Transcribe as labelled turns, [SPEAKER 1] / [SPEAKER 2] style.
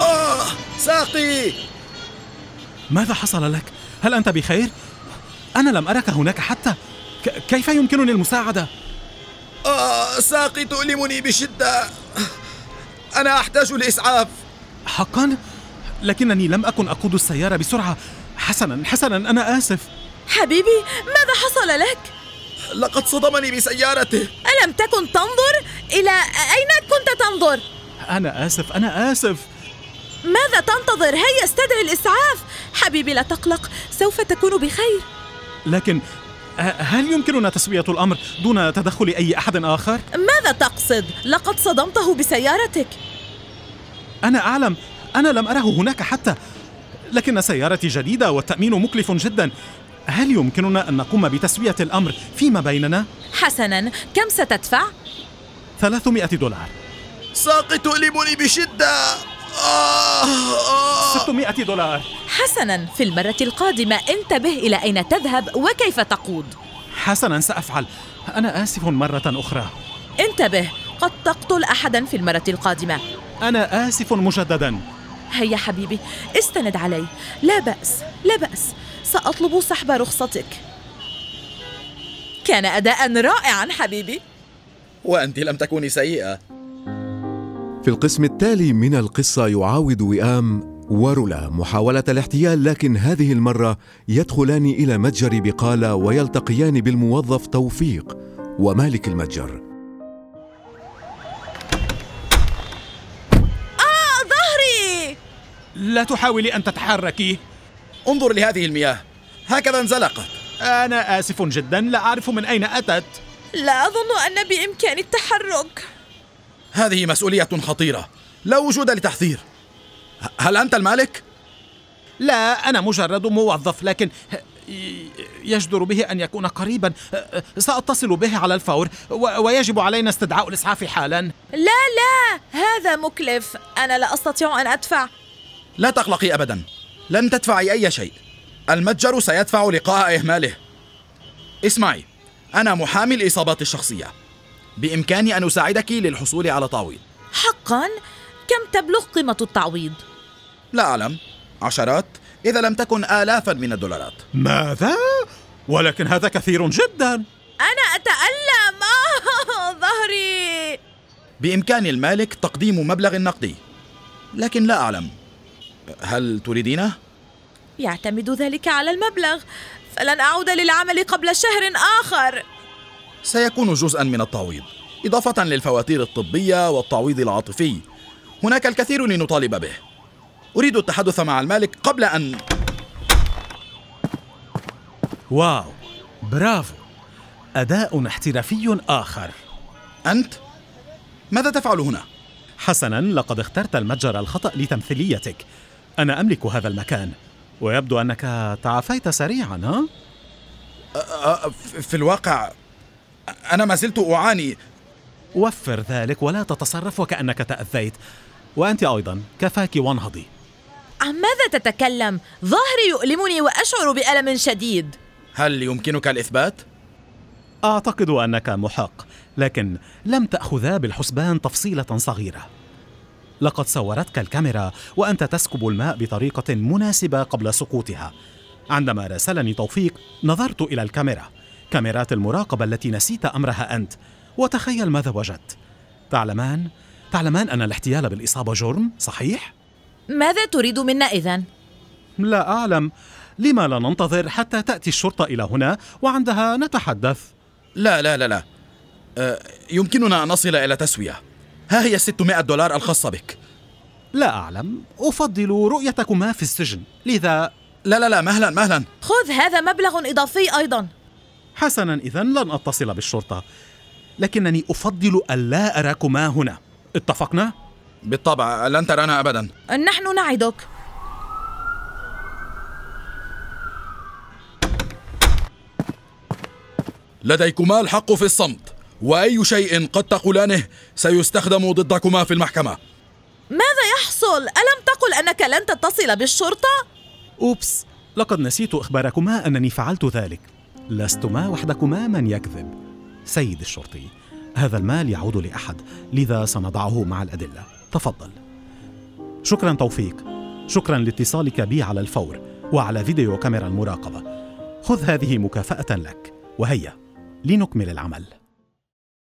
[SPEAKER 1] آه، أمري
[SPEAKER 2] ماذا حصل لك؟ هل أنت بخير؟ أنا لم أرك هناك حتى ك- كيف يمكنني المساعدة؟
[SPEAKER 1] آه ساقي تؤلمني بشدة أنا أحتاج لإسعاف
[SPEAKER 2] حقا؟ لكنني لم أكن أقود السيارة بسرعة حسنا حسنا أنا آسف
[SPEAKER 3] حبيبي ماذا حصل لك؟
[SPEAKER 1] لقد صدمني بسيارته
[SPEAKER 3] ألم تكن تنظر؟ إلى أين كنت تنظر؟
[SPEAKER 2] أنا آسف أنا آسف
[SPEAKER 3] ماذا تنتظر؟ هيا استدعي الإسعاف حبيبي لا تقلق سوف تكون بخير
[SPEAKER 2] لكن آه، هل يمكننا تسوية الأمر دون تدخل أي أحد آخر؟
[SPEAKER 3] ماذا تقصد؟ لقد صدمته بسيارتك
[SPEAKER 2] أنا أعلم أنا لم أره هناك حتى لكن سيارتي جديدة والتأمين مكلف جدا هل يمكننا أن نقوم بتسوية الأمر فيما بيننا؟
[SPEAKER 3] حسنا كم ستدفع؟
[SPEAKER 2] 300 دولار
[SPEAKER 1] ساقي تؤلمني بشدة آه آه
[SPEAKER 2] 600 دولار
[SPEAKER 3] حسنا في المرة القادمة انتبه إلى أين تذهب وكيف تقود
[SPEAKER 2] حسنا سأفعل أنا آسف مرة أخرى
[SPEAKER 3] انتبه قد تقتل أحدا في المرة القادمة
[SPEAKER 2] أنا آسف مجددا
[SPEAKER 3] هيا حبيبي استند علي لا بأس لا بأس سأطلب سحب رخصتك كان أداء رائعا حبيبي
[SPEAKER 1] وأنت لم تكوني سيئة
[SPEAKER 4] في القسم التالي من القصة يعاود وئام ورولا محاولة الاحتيال لكن هذه المرة يدخلان إلى متجر بقالة ويلتقيان بالموظف توفيق ومالك المتجر
[SPEAKER 3] ظهري
[SPEAKER 2] لا تحاولي أن تتحركي
[SPEAKER 1] انظر لهذه المياه هكذا انزلقت
[SPEAKER 2] أنا آسف جدا لا أعرف من أين أتت
[SPEAKER 3] لا أظن أن بإمكاني التحرك
[SPEAKER 1] هذه مسؤولية خطيرة لا وجود لتحذير ه- هل أنت المالك؟
[SPEAKER 2] لا أنا مجرد موظف لكن ي- يجدر به أن يكون قريبا سأتصل به على الفور و- ويجب علينا استدعاء الإسعاف حالا
[SPEAKER 3] لا لا هذا مكلف أنا لا أستطيع أن أدفع
[SPEAKER 1] لا تقلقي أبدا لن تدفعي أي شيء المتجر سيدفع لقاء إهماله اسمعي أنا محامي الإصابات الشخصية بإمكاني أن أساعدك للحصول على تعويض
[SPEAKER 3] حقا كم تبلغ قيمة التعويض؟
[SPEAKER 1] لا أعلم عشرات إذا لم تكن آلافا من الدولارات
[SPEAKER 2] ماذا؟ ولكن هذا كثير جدا
[SPEAKER 3] أنا أتألم آه ظهري
[SPEAKER 1] بإمكان المالك تقديم مبلغ نقدي لكن لا أعلم هل تريدينه؟
[SPEAKER 3] يعتمد ذلك على المبلغ فلن أعود للعمل قبل شهر آخر
[SPEAKER 1] سيكون جزءا من التعويض إضافة للفواتير الطبية والتعويض العاطفي هناك الكثير لنطالب به أريد التحدث مع المالك قبل أن
[SPEAKER 2] واو برافو أداء احترافي آخر
[SPEAKER 1] أنت ماذا تفعل هنا؟
[SPEAKER 2] حسنا لقد اخترت المتجر الخطأ لتمثيليتك أنا أملك هذا المكان ويبدو أنك تعافيت سريعا ها؟
[SPEAKER 1] أ- ف- في الواقع أنا ما زلت أعاني
[SPEAKER 2] وفر ذلك ولا تتصرف وكأنك تأذيت وأنت أيضا كفاك وانهضي
[SPEAKER 3] عن ماذا تتكلم؟ ظهري يؤلمني وأشعر بألم شديد
[SPEAKER 1] هل يمكنك الإثبات؟
[SPEAKER 2] أعتقد أنك محق لكن لم تأخذا بالحسبان تفصيلة صغيرة لقد صورتك الكاميرا وأنت تسكب الماء بطريقة مناسبة قبل سقوطها عندما راسلني توفيق نظرت إلى الكاميرا كاميرات المراقبة التي نسيت أمرها أنت وتخيل ماذا وجدت تعلمان تعلمان أن الاحتيال بالإصابة جرم صحيح؟
[SPEAKER 3] ماذا تريد منا إذا؟
[SPEAKER 2] لا أعلم لما لا ننتظر حتى تأتي الشرطة إلى هنا وعندها نتحدث
[SPEAKER 1] لا لا لا لا أ، يمكننا أن نصل إلى تسوية ها هي 600 دولار الخاصة بك
[SPEAKER 2] لا أعلم أفضل رؤيتكما في السجن لذا
[SPEAKER 1] لا لا لا مهلا مهلا
[SPEAKER 3] خذ هذا مبلغ إضافي أيضا
[SPEAKER 2] حسنا إذا لن أتصل بالشرطة لكنني أفضل ألا أراكما هنا اتفقنا؟
[SPEAKER 1] بالطبع لن ترانا أبدا
[SPEAKER 3] نحن نعدك
[SPEAKER 1] لديكما الحق في الصمت واي شيء قد تقولانه سيستخدم ضدكما في المحكمه
[SPEAKER 3] ماذا يحصل؟ ألم تقل أنك لن تتصل بالشرطة؟
[SPEAKER 2] أوبس لقد نسيت إخباركما أنني فعلت ذلك لستما وحدكما من يكذب سيد الشرطي هذا المال يعود لأحد لذا سنضعه مع الأدلة تفضل شكرا توفيق شكرا لاتصالك بي على الفور وعلى فيديو كاميرا المراقبة خذ هذه مكافأة لك وهيا لنكمل العمل